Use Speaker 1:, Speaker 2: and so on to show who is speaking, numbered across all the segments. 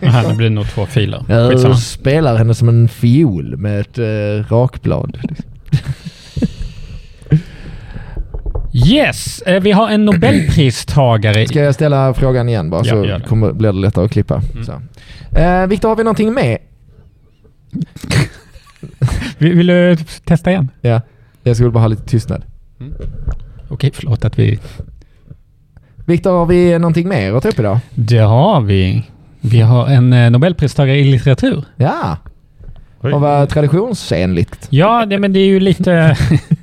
Speaker 1: Nej, det blir nog två filer. Skitsamma.
Speaker 2: Jag spelar henne som en fiol med ett eh, rakblad.
Speaker 1: Yes, eh, vi har en nobelpristagare.
Speaker 2: Ska jag ställa frågan igen bara
Speaker 1: Ja,
Speaker 2: så
Speaker 1: gör det. Mm.
Speaker 2: kommer, blir det lättare att klippa. Så. Eh, Viktor, har vi någonting med?
Speaker 3: Vill, vill du testa igen?
Speaker 2: Ja. Jag skulle bara ha lite tystnad.
Speaker 3: Okej, förlåt att vi...
Speaker 2: Viktor, har vi någonting mer att ta upp idag?
Speaker 3: Det har vi. Vi har en eh, nobelpristagare i litteratur.
Speaker 2: Ja,
Speaker 4: Oj.
Speaker 2: och vad traditionsenligt.
Speaker 3: Ja, det, men det är ju lite... mm,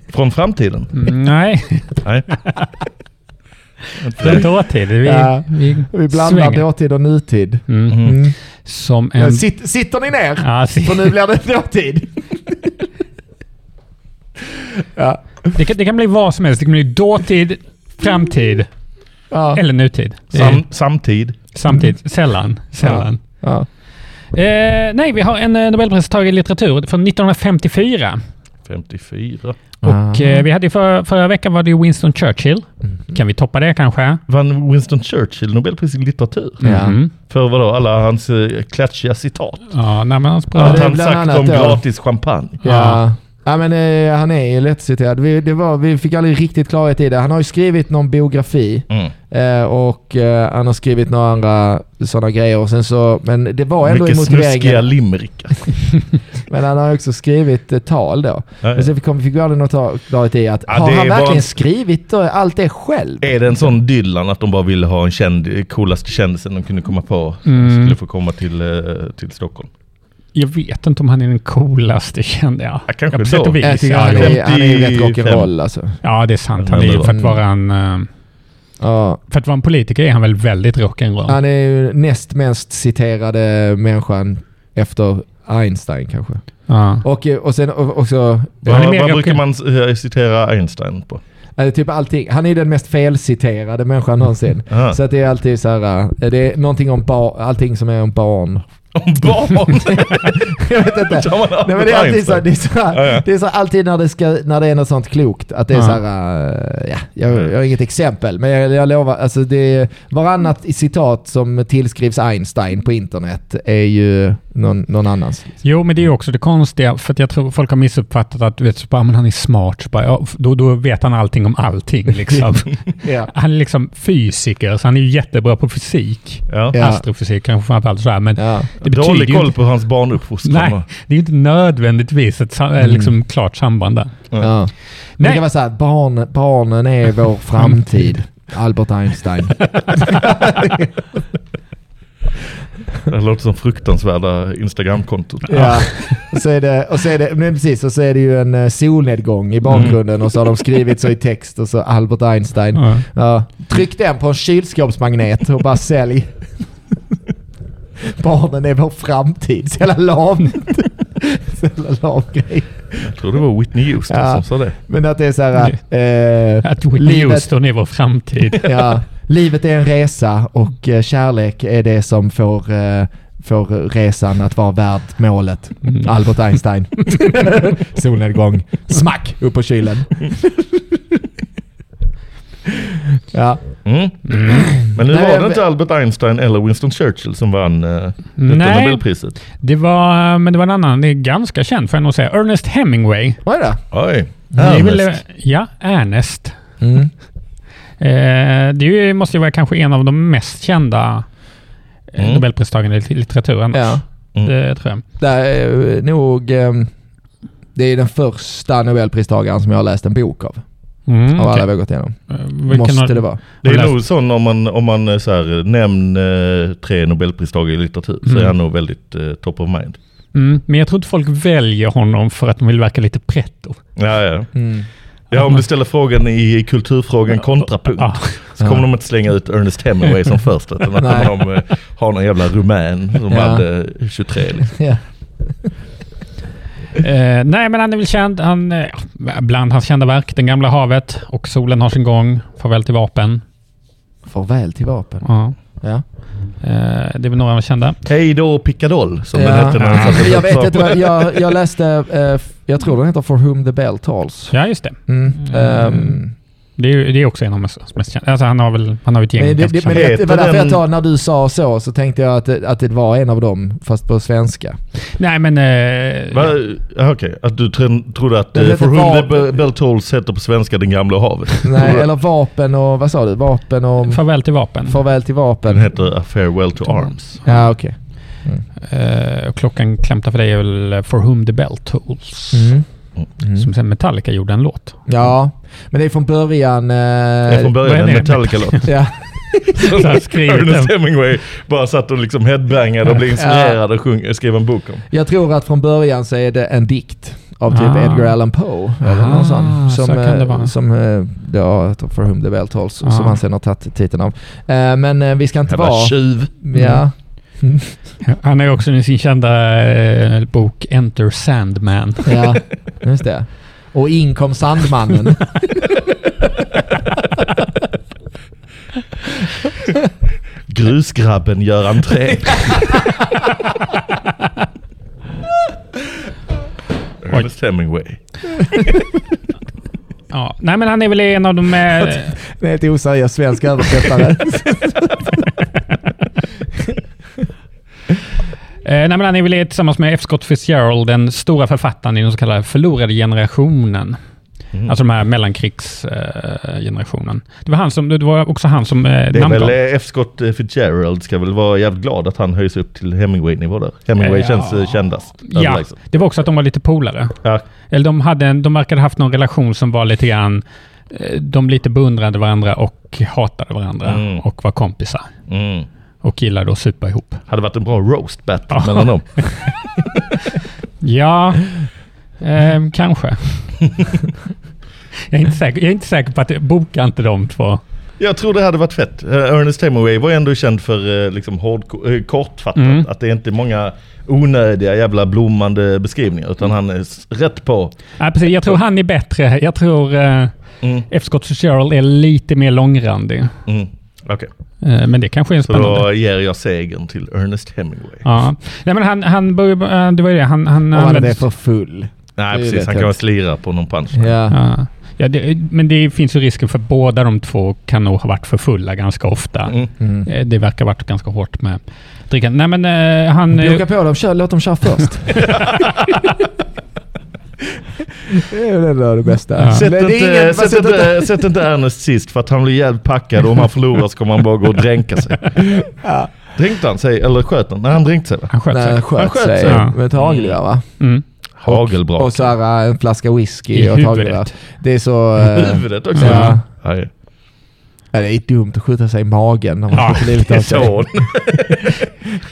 Speaker 4: Från framtiden?
Speaker 3: Nej,
Speaker 4: Nej.
Speaker 3: från dåtid. Vi,
Speaker 2: Ja.
Speaker 3: vi,
Speaker 2: Vi blandar
Speaker 3: svänger.
Speaker 2: dåtid och nutid.
Speaker 3: Mm.
Speaker 4: Mm.
Speaker 2: Mm.
Speaker 3: Som en...
Speaker 2: Sitt, sitter ni ner?
Speaker 3: Ja, se-
Speaker 2: För nu blir det dåtid. ja.
Speaker 3: det, kan, det kan bli vad som helst. Det kan bli dåtid, framtid
Speaker 2: Ja.
Speaker 3: eller nutid. Det är
Speaker 4: Sam, samtid.
Speaker 3: Samtidigt. Sällan. Sällan.
Speaker 2: Ja.
Speaker 3: Eh, nej, vi har en eh, nobelpristagare i litteratur från 1954.
Speaker 4: 54.
Speaker 3: Och eh, vi hade ju för, förra veckan var det ju Winston Churchill. Kan vi toppa det kanske?
Speaker 4: Vann Winston Churchill Nobelpris i litteratur?
Speaker 2: Ja.
Speaker 3: Mhm.
Speaker 4: För vadå? Alla hans eh, klatschiga citat.
Speaker 3: Ja, nej, men hans
Speaker 2: Ja,
Speaker 3: bra.
Speaker 4: Att
Speaker 2: det är
Speaker 4: han
Speaker 2: bland
Speaker 4: sagt
Speaker 2: annat
Speaker 4: om
Speaker 2: då.
Speaker 4: gratis champagne.
Speaker 2: Ja. ja, men eh, han är ju lättciterad. Vi, det var, vi fick aldrig riktigt klarhet i det. Han har ju skrivit någon biografi
Speaker 4: Mm.
Speaker 2: eh, och eh, han har skrivit några andra sådana grejer. Och sen så, men det var ändå i
Speaker 4: Mycket snuskiga
Speaker 2: motiveringen.
Speaker 4: limerickar.
Speaker 2: Men han har ju också skrivit eh, tal då. Men sen kom, fick vi aldrig något klarhet i att
Speaker 4: Ja,
Speaker 2: har
Speaker 4: det
Speaker 2: han
Speaker 4: är
Speaker 2: verkligen
Speaker 4: bara-
Speaker 2: skrivit eh, allt det själv?
Speaker 4: Är det en sån Dylan att de bara ville ha en känd, eh, coolaste kändisen de kunde komma på som
Speaker 3: Mm.
Speaker 4: skulle få komma till, eh, till Stockholm?
Speaker 3: Jag vet inte om han är den coolaste kände jag.
Speaker 4: Ja, kanske
Speaker 3: ja, på
Speaker 4: då.
Speaker 3: sätt och
Speaker 2: Jag
Speaker 3: vis.
Speaker 2: tycker
Speaker 3: Ja,
Speaker 2: han,
Speaker 3: jo.
Speaker 2: är, han är ju rätt
Speaker 4: 55.
Speaker 2: rock'n'roll alltså.
Speaker 3: ja, det är sant. Han är ju för att vara en... eh,
Speaker 2: Ja.
Speaker 3: För att vara en politiker är han väl väldigt rock'n'roll.
Speaker 2: Han är ju näst mest citerade människan efter Einstein kanske.
Speaker 3: Ja.
Speaker 2: Och, eh, och sen och- också...
Speaker 3: Han är
Speaker 4: Vad,
Speaker 3: mer
Speaker 4: vad
Speaker 3: rock-
Speaker 4: brukar man eh, citera Einstein på?
Speaker 2: Alltså, typ allting. Han är ju den mest felciterade människan någonsin.
Speaker 4: Aha.
Speaker 2: Så att det är alltid så här, eh, det är någonting om bar, allting som är om barn.
Speaker 4: Om barn!
Speaker 2: Jag vet inte.
Speaker 4: Tar man
Speaker 2: Nej, men det är alltid så, här-
Speaker 4: Einstein?
Speaker 2: det är så, här,
Speaker 4: Ja, ja.
Speaker 2: det är så här, alltid när det, ska, när det är något sånt klokt, att det är
Speaker 3: Ja.
Speaker 2: så här, eh, ja, jag, jag har inget exempel, men jag, jag lovar, alltså det är varannat i citat som tillskrivs Einstein på internet är ju någon, någon annans.
Speaker 3: Jo, men det är ju också det konstiga, för att jag tror folk har missuppfattat att du vet, så bara, men han är smart. Så bara, ja, f- då, då vet han allting om allting. Liksom.
Speaker 2: Ja.
Speaker 3: han är liksom fysiker, så han är ju jättebra på fysik.
Speaker 4: Ja.
Speaker 2: Ja.
Speaker 3: Astrofysik kanske framförallt sådär, men
Speaker 2: Ja.
Speaker 3: det betyder
Speaker 4: Dålig
Speaker 3: ju
Speaker 4: koll
Speaker 3: inte,
Speaker 4: på hans barnuppfostran.
Speaker 3: Nej, det är ju inte nödvändigtvis ett sa- liksom, klart samband där.
Speaker 2: Ja. Mm. Men
Speaker 3: Nej.
Speaker 2: Det kan vara så här, barn, barnen är vår framtid. Albert Einstein.
Speaker 4: Det låter som fruktansvärda Instagramkontot.
Speaker 2: Ja. Och, så är det, och, så är det, men precis, och så är det ju en eh, solnedgång i bakgrunden och så har de skrivit så i text och så Albert Einstein.
Speaker 3: Ja.
Speaker 2: Ja. Tryck den på en kylskåpsmagnet och bara sälj. Barnen är vår framtid. Så jävla lamt. Så jävla lam grej.
Speaker 4: Jag tror det var Whitney Houston
Speaker 2: Ja.
Speaker 4: som sa det.
Speaker 2: Men att det är så här... eh,
Speaker 3: Mm. Att Whitney
Speaker 2: Livet-
Speaker 3: Houston är vår framtid.
Speaker 2: ja, livet är en resa och eh, kärlek är det som får, eh, får resan att vara värd målet.
Speaker 3: Mm.
Speaker 2: Albert Einstein. Solnedgång. Smack! Upp på kylen. ja.
Speaker 4: Mm. Men nu
Speaker 2: Nej,
Speaker 4: var det
Speaker 2: jag-
Speaker 4: inte Albert Einstein eller Winston Churchill som vann eh,
Speaker 2: Mm.
Speaker 4: detta
Speaker 3: Nej.
Speaker 4: Nobelpriset.
Speaker 3: Det var, men det var en annan, det är ganska känd får jag nog säga. Ernest Hemingway.
Speaker 2: Vad är det?
Speaker 4: Oj.
Speaker 3: Det är väl-
Speaker 4: Ernest.
Speaker 3: ja, Ernest.
Speaker 2: Mm.
Speaker 3: Eh, det är ju, måste ju vara kanske en av de mest kända eh,
Speaker 4: Mm.
Speaker 3: Nobelpristagarna i lit- litteratur annars.
Speaker 2: Ja.
Speaker 4: Mm.
Speaker 3: Det tror jag.
Speaker 2: Det är eh, nog... eh, Det är den första Nobelpristagaren som jag har läst en bok av.
Speaker 3: Mm,
Speaker 2: Av
Speaker 3: okej.
Speaker 2: alla vi har gått igenom.
Speaker 3: Eh, vilken har-
Speaker 2: Måste det vara.
Speaker 4: Det
Speaker 3: Har
Speaker 4: är
Speaker 3: läst-
Speaker 4: nog sån om man, om man eh, så här, nämner eh, tre Nobelpristagare i litteratur så
Speaker 3: Mm.
Speaker 4: är han nog väldigt eh, top of mind.
Speaker 3: Mm, men jag tror inte folk väljer honom för att de vill verka lite pretto.
Speaker 4: Ja, ja.
Speaker 2: Mm.
Speaker 4: ja, om du ställer frågan i kulturfrågan kontrapunkt
Speaker 3: Ja.
Speaker 4: så kommer de inte slänga ut Ernest Hemingway som först utan att
Speaker 2: Nej.
Speaker 4: de eh, har någon jävla rumän som
Speaker 2: Ja.
Speaker 4: hade 23. Liksom.
Speaker 2: Ja.
Speaker 3: Eh, nej, men han är väl känd. Han, eh, ja, bland hans kända verk, Den gamla havet och Solen har sin gång, Farväl till vapen.
Speaker 2: Farväl till vapen.
Speaker 3: Ja.
Speaker 2: Ja.
Speaker 3: Eh, det är väl några av de kända.
Speaker 4: Hej då Picadoll som den
Speaker 2: Ja.
Speaker 4: hette när den sattes
Speaker 2: Jag
Speaker 4: upp
Speaker 2: vet
Speaker 4: som-
Speaker 2: inte vad, jag, jag läste, eh, f- jag tror den heter For whom the bell tolls.
Speaker 3: Ja, just det.
Speaker 2: Mm.
Speaker 3: Mm.
Speaker 2: ehm,
Speaker 3: Det är, ju- det är också en av hans mest kända. Alltså han har väl han har ju ett gäng
Speaker 2: Men det,
Speaker 3: ganska
Speaker 2: det, men
Speaker 3: kända.
Speaker 2: det, det var
Speaker 4: Heter
Speaker 2: därför jag
Speaker 4: den-
Speaker 2: tar, när du sa så, så tänkte jag att, det- att det var en av dem, fast på svenska.
Speaker 3: Nej men... Eh,
Speaker 4: Va? Ja, Okej, att du tren- trodde att
Speaker 2: Den
Speaker 4: eh,
Speaker 2: heter
Speaker 4: For whom the
Speaker 2: Val-
Speaker 4: be- bell tolls heter på svenska Den gamla och havet.
Speaker 2: Nej, eller vapen och, vad sa du? Vapen och...
Speaker 3: Farväl till vapen.
Speaker 2: Farväl till
Speaker 4: Den
Speaker 2: vapen.
Speaker 4: heter A farewell to
Speaker 2: Mm.
Speaker 4: arms.
Speaker 2: Ja, okej. Mm.
Speaker 3: Eh, och klockan klämtar för dig är väl eh, For whom the bell tolls.
Speaker 2: Mm.
Speaker 3: Som sen Metallica gjorde en låt.
Speaker 2: Ja, men det är från början... Eh,
Speaker 4: Det är från
Speaker 3: vad är
Speaker 4: början en
Speaker 3: det?
Speaker 4: Metallica-låt.
Speaker 2: ja.
Speaker 3: Så här skrivit den.
Speaker 4: Ernest Hemingway bara satt och liksom headbangade och blev inspirerad och sjung, skrev en bok om.
Speaker 2: Jag tror att från början så är det en dikt av typ
Speaker 3: Ah.
Speaker 2: Edgar Allan Poe eller
Speaker 3: Ah,
Speaker 2: någon sån.
Speaker 3: så
Speaker 2: Som,
Speaker 3: kan det
Speaker 2: eh,
Speaker 3: vara.
Speaker 2: som eh, ja, jag tror For whom the bell tolls,
Speaker 3: Ah.
Speaker 2: som han sen har tagit titeln av. Eh, men eh, vi ska inte
Speaker 4: Jävla
Speaker 2: vara...
Speaker 4: tjuv.
Speaker 2: Ja.
Speaker 3: Han har ju också i sin kända eh, bok Enter Sandman.
Speaker 2: Ja, just det. Och in kom Sandmannen.
Speaker 4: Grusgrabben gör entré. Ernest Hemingway.
Speaker 3: Ja. Nej men han är väl en av de... Eh,
Speaker 2: Det är ett oseriös svensk översättare.
Speaker 3: Eh, nej, men han är väl tillsammans med F. Scott Fitzgerald den stora författaren i den så kallade förlorade generationen.
Speaker 4: Mm.
Speaker 3: Alltså den här mellankrigsgenerationen. Eh, generationen. det, var han som, det var också han som eh,
Speaker 4: det är väl
Speaker 3: namngav.
Speaker 4: eh, F. Scott eh, Fitzgerald ska väl vara jävligt glad att han höjs upp till Hemingway-nivå där. Hemingway
Speaker 3: Ja.
Speaker 4: känns eh, kändast.
Speaker 3: Ja,
Speaker 4: överlägset.
Speaker 3: det var också att de var lite polare.
Speaker 4: Ja.
Speaker 3: Eller de, hade en, de verkade haft någon relation som var lite grann... eh, De lite beundrade varandra och hatade varandra
Speaker 4: Mm.
Speaker 3: och var kompisar.
Speaker 4: Mm.
Speaker 3: Och gillade att supa ihop.
Speaker 4: Hade varit en bra roast battle mellan dem.
Speaker 3: Ja, ehm, kanske. jag, är inte säker, jag är inte säker på att... Boka inte de två.
Speaker 4: Jag tror det hade varit fett. Eh, Ernest Hemingway var ju ändå känd för eh, liksom hård, eh, kortfattat.
Speaker 3: Mm.
Speaker 4: Att det är inte många onödiga jävla blommande beskrivningar. Utan han är s- rätt på.
Speaker 3: Ja, precis. Jag tror han är bättre. Jag tror eh,
Speaker 4: Mm,
Speaker 3: F. Scott Fitzgerald är lite mer långrandig.
Speaker 4: mm. Okej,
Speaker 3: Eh, men det kanske är en
Speaker 4: så
Speaker 3: spännande...
Speaker 4: då ger jag segern till Ernest Hemingway.
Speaker 3: Ja. Nej, men han, han började... eh, Det var ju det. Han, han
Speaker 2: Om han
Speaker 3: använde-
Speaker 2: är för full.
Speaker 4: Nej
Speaker 2: Det är
Speaker 4: precis,
Speaker 2: rätt
Speaker 4: han kan
Speaker 2: hänt.
Speaker 4: väl slira på någon punch.
Speaker 2: Ja.
Speaker 3: Ja. Ja, det, men det finns ju risken för båda de två kan nog ha varit för fulla ganska ofta.
Speaker 4: Mm.
Speaker 2: Mm.
Speaker 3: Eh, Det verkar ha varit ganska hårt med drickande. Nej, men eh, han... eh,
Speaker 2: Boka på dem, kör, låt dem köra först. det är väl ändå det bästa.
Speaker 3: Ja.
Speaker 2: Men
Speaker 4: Sätt,
Speaker 2: det är
Speaker 4: inte,
Speaker 2: ingen-
Speaker 4: sätt,
Speaker 2: sätt inte-
Speaker 4: inte, sätt inte Ernest sist för att han blir jävligt packad och om han förlorar så kommer han bara gå och dränka sig.
Speaker 2: Ja.
Speaker 4: Dränkte han sig eller sköt han? Nej han dränkte sig va?
Speaker 3: Han sköt
Speaker 2: Nej,
Speaker 3: sig.
Speaker 2: han sköt
Speaker 4: Han sköt
Speaker 2: sig
Speaker 4: sig.
Speaker 3: Ja.
Speaker 2: med ett hagelgevär va?
Speaker 3: Mm.
Speaker 4: Hagelbrak.
Speaker 2: Och så här, äh, en flaska whisky
Speaker 3: I
Speaker 2: och ett hagelgevär.
Speaker 3: huvudet.
Speaker 2: Det är så... eh,
Speaker 4: Huvudet också.
Speaker 2: Ja.
Speaker 4: Aj.
Speaker 2: ja, det är dumt att skjuta sig i magen när man
Speaker 3: Ja,
Speaker 2: skjuter livet av sig.
Speaker 4: Son.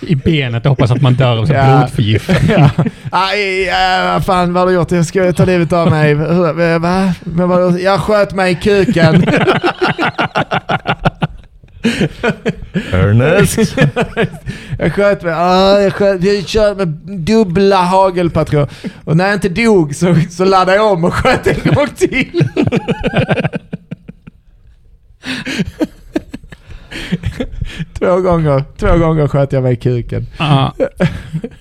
Speaker 3: I benet och hoppas att man dör av
Speaker 2: Ja.
Speaker 3: blodförgiftning.
Speaker 2: Ja. Aj, äh, fan vad har du gjort? Jag ska ta livet av mig. Hur- eh, Va? Men vad har du- Jag sköt mig i kuken.
Speaker 4: Ernest.
Speaker 2: Jag sköt mig. Ah, jag sköt. Jag körde med dubbla hagelpatroner. Och när jag inte dog så, så laddade jag om och sköt en gång till. Två gånger, två gånger sköt jag mig i kuken.
Speaker 3: Ja.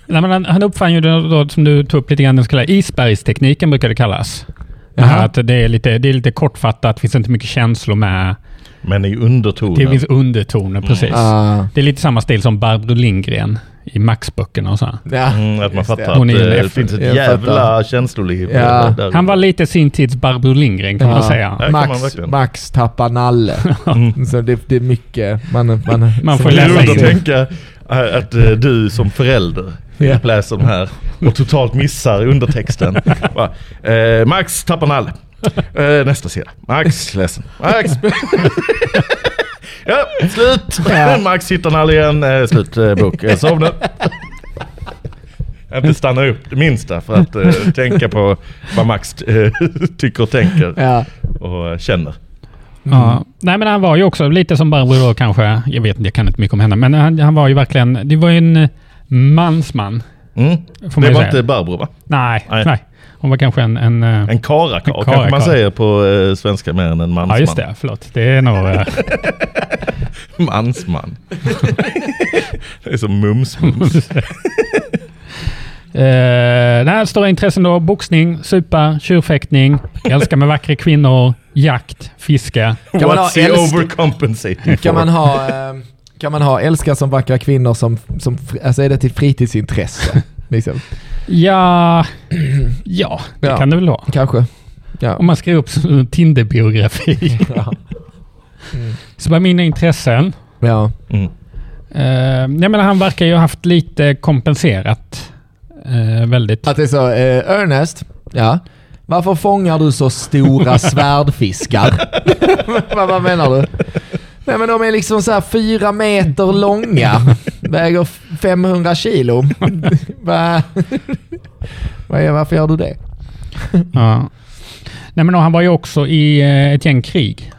Speaker 3: Nej, men han, han uppfann ju det då, som du tog upp lite grann, den så kallade isbergstekniken brukar det kallas. Det här
Speaker 2: Jaha.
Speaker 3: Att det, är lite, det är lite kortfattat, det finns inte mycket känslor med.
Speaker 4: Men i
Speaker 3: Det
Speaker 4: undertonen.
Speaker 3: finns undertoner, precis.
Speaker 2: Ah.
Speaker 3: Det är lite samma stil som Barbro Lindgren i Max-böckerna och så. här.
Speaker 2: Ja.
Speaker 4: Mm, att man
Speaker 2: Just det.
Speaker 4: fattar
Speaker 3: Hon
Speaker 4: att
Speaker 3: är en
Speaker 4: eh, det
Speaker 3: F.
Speaker 4: finns ett
Speaker 2: Jag
Speaker 4: jävla
Speaker 2: fattar.
Speaker 4: känsloliv.
Speaker 2: Ja.
Speaker 4: där- där.
Speaker 3: Han var lite sin tids Barbro Lindgren kan man
Speaker 2: Ja.
Speaker 3: säga.
Speaker 4: kan man
Speaker 2: Max,
Speaker 4: verkligen.
Speaker 2: Max tappar nalle.
Speaker 4: Mm.
Speaker 2: Så det, det är mycket man... Man,
Speaker 3: Man får
Speaker 4: Det är
Speaker 3: läsa
Speaker 4: roligt att
Speaker 3: in.
Speaker 4: tänka eh, att eh, du som förälder
Speaker 2: Ja.
Speaker 4: läser de här och totalt missar undertexten. Bara, eh, Max tappar nalle. Eh, nästa sida. Max ledsen. Max. ja, slut.
Speaker 2: Ja.
Speaker 4: Max hittar nalle igen. Eh, slut eh, bok. Eh, sov nu. Inte stanna upp det minsta för att eh, tänka på vad Max eh, tycker och tänker
Speaker 2: Ja.
Speaker 4: och eh, känner.
Speaker 2: Mm.
Speaker 3: Ja. Nej, men han var ju också lite som Barbro då kanske. Jag vet inte, jag kan inte mycket om henne. Men han, han var ju verkligen, det var ju en mansman.
Speaker 4: Mm.
Speaker 3: Får man
Speaker 4: Det
Speaker 3: ju
Speaker 4: var
Speaker 3: säga.
Speaker 4: inte Barbro va?
Speaker 3: Nej,
Speaker 4: Nej.
Speaker 3: nej. Hon var kanske en... en, eh,
Speaker 4: En karakar
Speaker 3: En
Speaker 4: kanske man
Speaker 3: karakar.
Speaker 4: säger på eh, svenska mer än en mansman.
Speaker 3: ja, just det. Förlåt. Det är nog... eh,
Speaker 4: Mansman. det är som mums-mums.
Speaker 3: Eh, nej, stora intressen då. Boxning, supa, tjurfäktning, älskar med vackra kvinnor, Jakt, fiske.
Speaker 2: Kan man ha
Speaker 4: What's he
Speaker 2: älsk-
Speaker 4: overcompensating for?
Speaker 2: Kan man ha, eh, kan man ha älskar som vackra kvinnor som, som fr- alltså är det till fritidsintresse? liksom.
Speaker 3: Ja, ja det
Speaker 2: Ja.
Speaker 3: kan det väl vara.
Speaker 2: Kanske. Ja.
Speaker 3: Om man skriver upp en Tinder-biografi. Mm.
Speaker 2: Ja. Mm.
Speaker 3: Så vad är mina intressen?
Speaker 2: ja.
Speaker 4: Mm.
Speaker 3: Eh, nej men han verkar ju ha haft lite kompenserat. Eh, väldigt.
Speaker 2: Att det är så, eh, Ernest, ja. Varför fångar du så stora svärdfiskar? vad, vad menar du? Nej men de är liksom så här fyra meter långa, väger 500 kilo. Va? Vad är- Varför gör du det?
Speaker 3: Ja. Nej men och han var ju också i eh, ett gäng krig.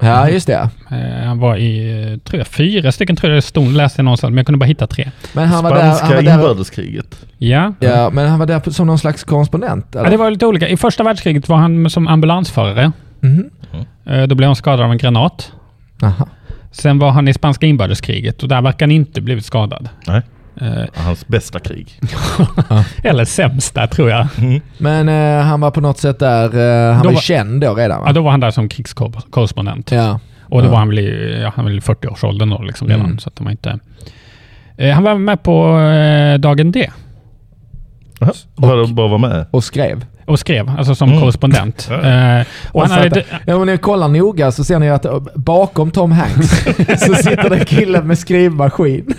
Speaker 2: Ja, just det.
Speaker 3: Eh, han var i, eh, tror jag, fyra stycken tror jag det stod, läste jag någonstans, men jag kunde bara hitta tre.
Speaker 2: Men han var där,
Speaker 4: Spanska
Speaker 2: han var där,
Speaker 4: inbördeskriget.
Speaker 3: Ja.
Speaker 2: ja, men han var där som någon slags korrespondent?
Speaker 3: Ja,
Speaker 2: Eller?
Speaker 3: det var lite olika. I första världskriget var han som ambulansförare.
Speaker 2: Mhm.
Speaker 3: Eh, Då blev han skadad av en granat.
Speaker 2: Aha.
Speaker 3: Sen var han i spanska inbördeskriget och där verkar han inte blivit skadad.
Speaker 4: Nej,
Speaker 3: Eh,
Speaker 4: hans bästa krig.
Speaker 3: Eller sämsta tror jag.
Speaker 2: Men eh, han var på något sätt där, eh, han
Speaker 3: Då
Speaker 2: var ju
Speaker 3: var-
Speaker 2: känd då redan
Speaker 3: Ja,
Speaker 2: va?
Speaker 3: då var han där som krigskorrespondent.
Speaker 2: Ja.
Speaker 3: Och då
Speaker 2: Ja.
Speaker 3: var han väl i, ja, han var väl i 40-årsåldern då liksom redan.
Speaker 2: Mm.
Speaker 3: Så att de var inte... Eh, han var med på eh, Dagen D
Speaker 4: Jaha, Bara, bara vara med.
Speaker 2: Och skrev.
Speaker 3: och skrev, alltså som
Speaker 4: Mm.
Speaker 3: korrespondent.
Speaker 4: Ja.
Speaker 3: Eh, och han hade, d-
Speaker 2: Ja, om ni kollar noga så ser ni att eh, bakom Tom Hanks så sitter det en kille med skrivmaskin.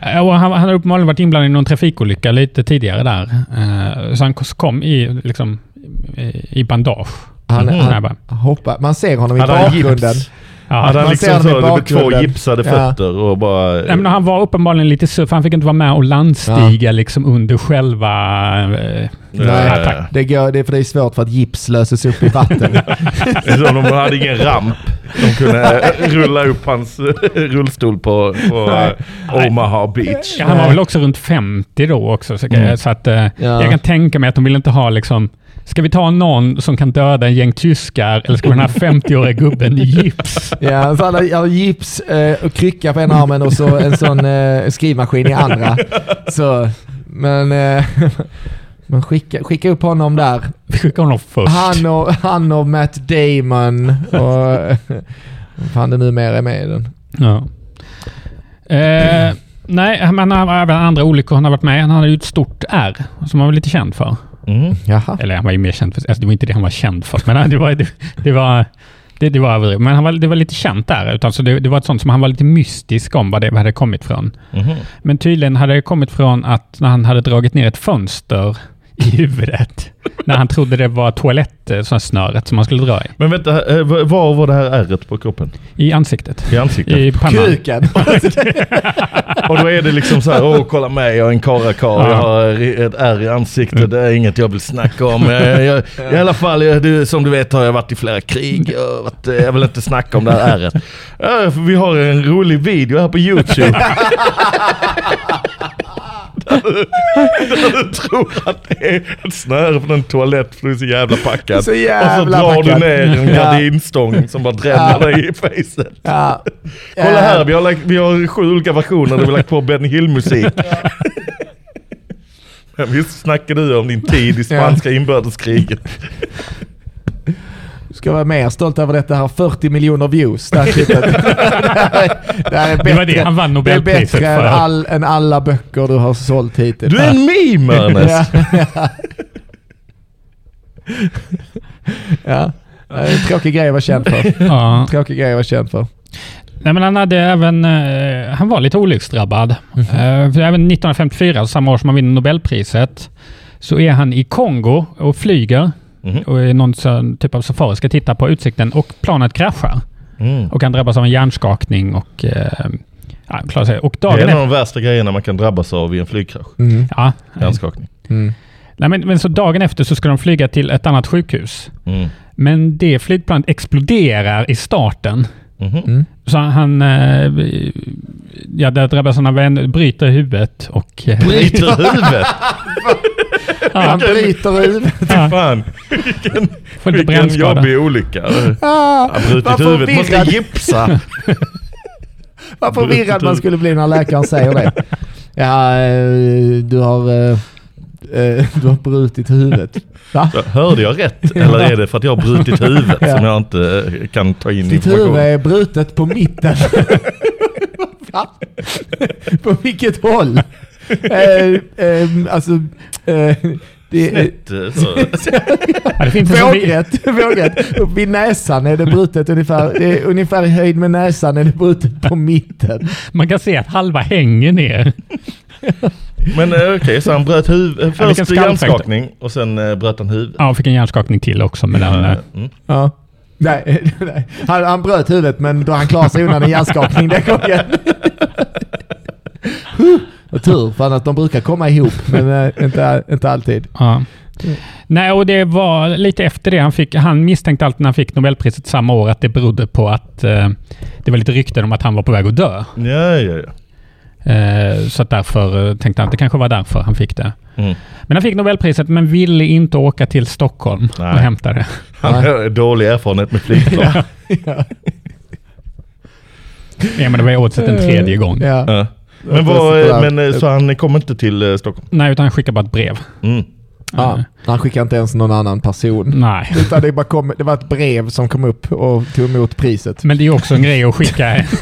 Speaker 3: Ja, eh, och han, han har uppenbarligen varit inblandad i någon trafikolycka lite tidigare där. Eh, så han kom i, liksom, i, i bandage.
Speaker 2: Han,
Speaker 4: Mhm.
Speaker 2: han,
Speaker 3: Jag bara,
Speaker 2: hoppar. Man ser honom i
Speaker 4: Hade han
Speaker 2: bakgrunden.
Speaker 4: gips?
Speaker 3: ja.
Speaker 4: Hade han
Speaker 2: Man ser
Speaker 4: liksom
Speaker 2: honom i
Speaker 4: så, det blev två
Speaker 2: bakgrunden.
Speaker 4: gipsade
Speaker 2: Ja.
Speaker 4: fötter och bara...
Speaker 3: Nej, men han var uppenbarligen lite sur, för han fick inte vara med och landstiga liksom under själva... Eh,
Speaker 4: Nej.
Speaker 3: attack.
Speaker 2: Det, går, det, är för det är svårt för att gips löses upp i vatten.
Speaker 4: Det är som om de hade ingen ramp. De kunde eh, rulla upp hans eh, rullstol på, på eh, Omaha Beach.
Speaker 3: Ja, han var väl också runt 50 då också, så,
Speaker 4: Mm.
Speaker 3: så att eh, jag kan tänka mig att de vill inte ha liksom... Ska vi ta någon som kan döda en gäng tyskar eller ska vi ha den här 50-åriga gubben i gips?
Speaker 2: ja, så han har- han har gips eh, och krycka på ena armen och så en sån eh, skrivmaskin i andra. Så, men eh, men skicka, skicka upp honom där.
Speaker 3: Vi skickar honom först.
Speaker 2: Han och, han och Matt Damon och vad fan det numera är med i den.
Speaker 3: Ja. Eh, nej, men han har även andra olyckor han har varit med i. Han hade ju ett stort R som han var lite känd för.
Speaker 4: Mm.
Speaker 2: Jaha.
Speaker 3: Eller han var ju mer känd för... Alltså det var inte det han var känd för, men det var... Det, det var det, det var överdrivet. Men han var, det var lite känt där. Utan så det, det var ett sånt som han var lite mystisk om vad det vad det hade kommit från.
Speaker 4: Mhm.
Speaker 3: Men tydligen hade det kommit från att när han hade dragit ner ett fönster i huvudet. när han trodde det var toalett, eh, sån här snöret som man skulle dra i.
Speaker 4: Men vänta, eh, var var var det här ärret på kroppen?
Speaker 3: I ansiktet.
Speaker 4: I ansiktet?
Speaker 3: I pannan.
Speaker 2: Kuken!
Speaker 4: Och då är det liksom så här, åh kolla mig, jag är en karlakar, jag har ett ärr i ansiktet, det är inget jag vill snacka om. Eh, Jag, I alla fall, jag, du, som du vet har jag varit i flera krig, jag, har varit, eh, jag vill inte snacka om det här ärret. Ja, för Vi har en rolig video här på YouTube. där, du, där du tror att det är ett snöre från en toalett för du är så jävla packad.
Speaker 2: Så
Speaker 4: och så
Speaker 2: jävla
Speaker 4: Alltså, drar du
Speaker 2: packad.
Speaker 4: ner en
Speaker 2: Ja.
Speaker 4: gardinstång som bara
Speaker 2: Ja.
Speaker 4: dräller dig i facet.
Speaker 2: Ja.
Speaker 3: Eh.
Speaker 4: Kolla här, vi har, lagt, vi har sju olika versioner där vi har lagt på Ben Hill-musik. Men Visst snackar du om din tid i spanska inbördeskriget?
Speaker 2: Ska vara mer stolt över detta här. 40 miljoner views. Det här, klippet. det här är bättre.
Speaker 3: Det var det han vann
Speaker 2: Det är
Speaker 3: Nobelpriset
Speaker 2: bättre än,
Speaker 3: för.
Speaker 2: all, än alla böcker du har sålt hittills.
Speaker 4: Du är en meme
Speaker 2: ja.
Speaker 4: Ernest!
Speaker 2: ja. Det är en tråkig grej att vara känd för.
Speaker 3: Ja.
Speaker 2: Tråkig grej att vara känd för.
Speaker 3: Nej, men han hade även... Eh, han var lite olycksdrabbad.
Speaker 4: Mhm.
Speaker 3: Eh, för även 1954, samma år som han vinner Nobelpriset, så är han i Kongo och flyger
Speaker 4: Mhm.
Speaker 3: och är någon sån typ av safari, ska titta på utsikten och planet kraschar.
Speaker 4: Mm.
Speaker 3: Och han drabbas av en hjärnskakning och... Eh, ja, klarar sig. Och
Speaker 4: Det är
Speaker 3: dagen
Speaker 4: en av
Speaker 3: efter...
Speaker 4: de värsta grejerna man kan drabbas av i en flygkrasch.
Speaker 2: Mm.
Speaker 3: Ja,
Speaker 4: Hjärnskakning.
Speaker 2: Mm.
Speaker 3: nej, men, men så dagen efter så ska de flyga till ett annat sjukhus.
Speaker 4: Mm.
Speaker 3: Men det flygplanet exploderar i starten. Mm.
Speaker 4: Mhm.
Speaker 3: Så han... Eh, ja, där drabbas han av en... Bryter huvudet och... eh,
Speaker 4: Bryter huvudet!
Speaker 2: Han bryter huvudet.
Speaker 3: Ja.
Speaker 4: Fan,
Speaker 3: Får lite
Speaker 4: vilken
Speaker 3: brännskada.
Speaker 4: jobbig olycka.
Speaker 2: Ah,
Speaker 4: Jag har brutit
Speaker 2: Vad
Speaker 4: huvudet, måste
Speaker 2: förvirrad.
Speaker 4: gipsa.
Speaker 2: Vad förvirrad
Speaker 4: Brutet
Speaker 2: man
Speaker 4: ut.
Speaker 2: skulle bli när läkaren säger det. Ja, eh, du har eh, eh, du har brutit huvudet. Va?
Speaker 4: Så, Hörde jag rätt? Eller är det för att jag har brutit huvudet som jag inte eh, kan ta in
Speaker 2: Ditt huvud är brutet på mitten. Va? på vilket håll? Eh, eh, alltså... Eh, det,
Speaker 4: Snett, eh, så.
Speaker 3: Ja, det finns en sån vi-
Speaker 2: Vågrätt, vågrätt. Upp vid näsan är det brutet ungefär, det är ungefär i höjd med näsan är det brutet på mitten.
Speaker 3: man kan se att halva hänger ner.
Speaker 4: Men eh, okej, så han bröt huvudet.
Speaker 3: Ja, vilken
Speaker 4: Först
Speaker 3: skallfäkt.
Speaker 4: hjärnskakning och sen eh, bröt han huvudet.
Speaker 3: Ja, fick en hjärnskakning till också med den. eh.
Speaker 4: Mm.
Speaker 2: Ja. Nej, nej. Han, han bröt huvudet men då han klarade sig undan en hjärnskakning den gången. Huh. Och tur, för annars de brukar komma ihop, men eh, inte, inte alltid.
Speaker 3: Ja. Nej, och det var lite efter det han fick. Han misstänkte alltid när han fick Nobelpriset samma år att det berodde på att eh, det var lite rykten om att han var på väg att dö.
Speaker 4: Ja, ja, ja.
Speaker 3: Eh, så att därför eh, tänkte han att det kanske var därför han fick det.
Speaker 4: Mm.
Speaker 3: Men han fick Nobelpriset men ville inte åka till Stockholm
Speaker 4: Nej.
Speaker 3: och hämta det.
Speaker 4: Han har dålig erfarenhet med flygplan.
Speaker 2: Ja. Ja.
Speaker 3: Ja, men det var ju oddset en tredje gång.
Speaker 2: Ja.
Speaker 4: Ja. Men,
Speaker 2: Precis,
Speaker 4: vad,
Speaker 2: där.
Speaker 4: men eh, så han kom inte till eh, Stockholm?
Speaker 3: Nej, utan han skickade bara ett brev.
Speaker 4: Mm.
Speaker 2: Ja. Han skickar inte ens någon annan person.
Speaker 3: Nej.
Speaker 2: Utan det, bara kom, det var ett brev som kom upp och tog emot priset.
Speaker 3: Men det är ju också en grej att skicka.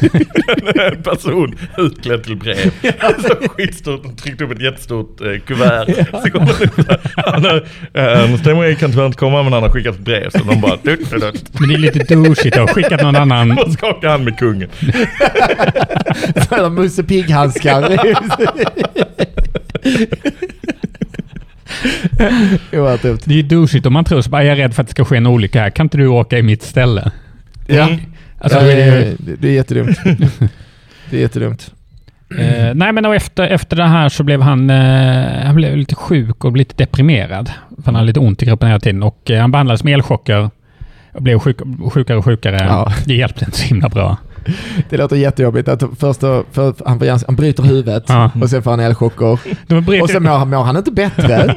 Speaker 4: En person utklädd till brev. Så skitstort, de tryckte upp ett jättestort eh, kuvert. Så kom det ut där. han har, eh, han stämmer, jag kan tyvärr inte komma men han har skickat ett brev. Så de bara... Dut, dut, dut.
Speaker 3: Men det är lite douchigt att skicka någon annan.
Speaker 4: Och skakar hand med kungen.
Speaker 2: Sådana Musse Pigg-handskar. Oerhört dumt.
Speaker 3: Det är ju douchigt om man tror så bara, jag är rädd för att det ska ske en olycka här. Kan inte du åka i mitt ställe?
Speaker 2: Ja.
Speaker 4: Mm.
Speaker 3: Alltså,
Speaker 2: ja,
Speaker 3: det är ju-
Speaker 2: det, det, det är jättedumt. det är jättedumt.
Speaker 3: Eh, nej, men och efter, efter det här så blev han, eh, han blev lite sjuk och lite deprimerad. För han hade lite ont i kroppen hela tiden och eh, han behandlades med elchocker. Och blev sjuk, sjukare och sjukare.
Speaker 2: Ja.
Speaker 3: Det hjälpte inte så himla bra.
Speaker 2: Det låter jättejobbigt att först då, för han, får, hjärns- han bryter huvudet
Speaker 3: Ja.
Speaker 2: och sen får han elchocker.
Speaker 3: De bryter,
Speaker 2: Och sen mår, han- mår han inte
Speaker 3: Mm.
Speaker 2: bättre.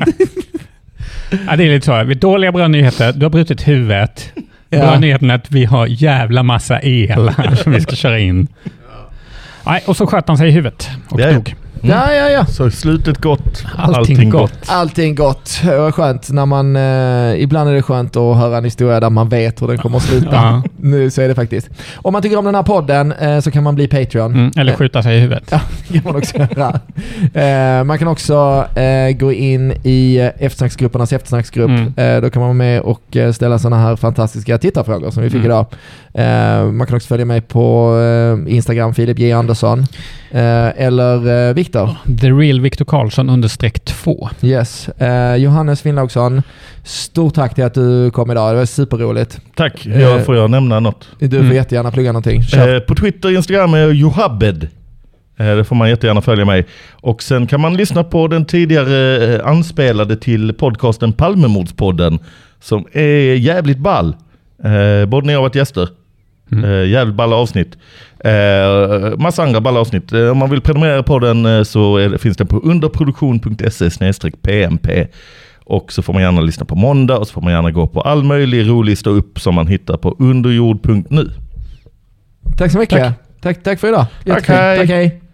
Speaker 3: ja, det är lite så. Vi har Dåliga bra nyheter. Du har brutit huvudet. Bra
Speaker 2: Ja.
Speaker 3: nyheten är att vi har jävla massa el här som vi ska köra in. Nej, och så sköt han sig i huvudet och
Speaker 4: Ja, ja.
Speaker 3: dog.
Speaker 2: ja, ja, ja.
Speaker 4: Så slutet gott,
Speaker 3: Allting, gott.
Speaker 2: Allting gott. Det var skönt när man... Eh, ibland är det skönt att höra en historia där man vet hur den kommer att sluta.
Speaker 3: Ja.
Speaker 2: Nu så är det faktiskt. Om man tycker om den här podden eh, så kan man bli Patreon.
Speaker 3: Mm, eller skjuta sig i huvudet.
Speaker 2: Ja, det kan man också göra. Eh, man kan också eh, gå in i eh, eftersnacksgruppernas eftersnacksgrupp.
Speaker 3: Mm.
Speaker 2: Eh, då kan man vara med och eh, ställa sådana här fantastiska tittarfrågor som vi fick
Speaker 3: Mm.
Speaker 2: idag. Eh, man kan också följa mig på eh, Instagram, Filip J Andersson. Eh, eller eh, Viktor.
Speaker 3: The real Victor Karlsson understreck 2.
Speaker 2: Yes. Eh, Johannes Finnlaugsson, stort tack till att du kom idag. Det var superroligt.
Speaker 4: Tack,
Speaker 3: Eh.
Speaker 4: jag, får jag nämna något?
Speaker 2: Du får
Speaker 3: Mm.
Speaker 2: jättegärna plugga någonting. Kör.
Speaker 4: Eh, på Twitter och Instagram är jag Johabed. Eh, där får man jättegärna följa mig. Och sen kan man lyssna på den tidigare eh, anspelade till podcasten Palmemordspodden. Som är jävligt ball. Eh, både när jag har varit gäster.
Speaker 3: Mm.
Speaker 4: Eh, jävligt balla avsnitt. Eh, massa andra balla avsnitt. Eh, om man vill prenumerera på den eh, så är det, finns den på underproduktion.se pmp. Och så får man gärna lyssna på måndag och så får man gärna gå på all möjlig rolig stå upp som man hittar på underjord.nu.
Speaker 2: Tack så mycket. Tack, tack för idag. Jättekul.
Speaker 4: hej.
Speaker 2: Tack, hej.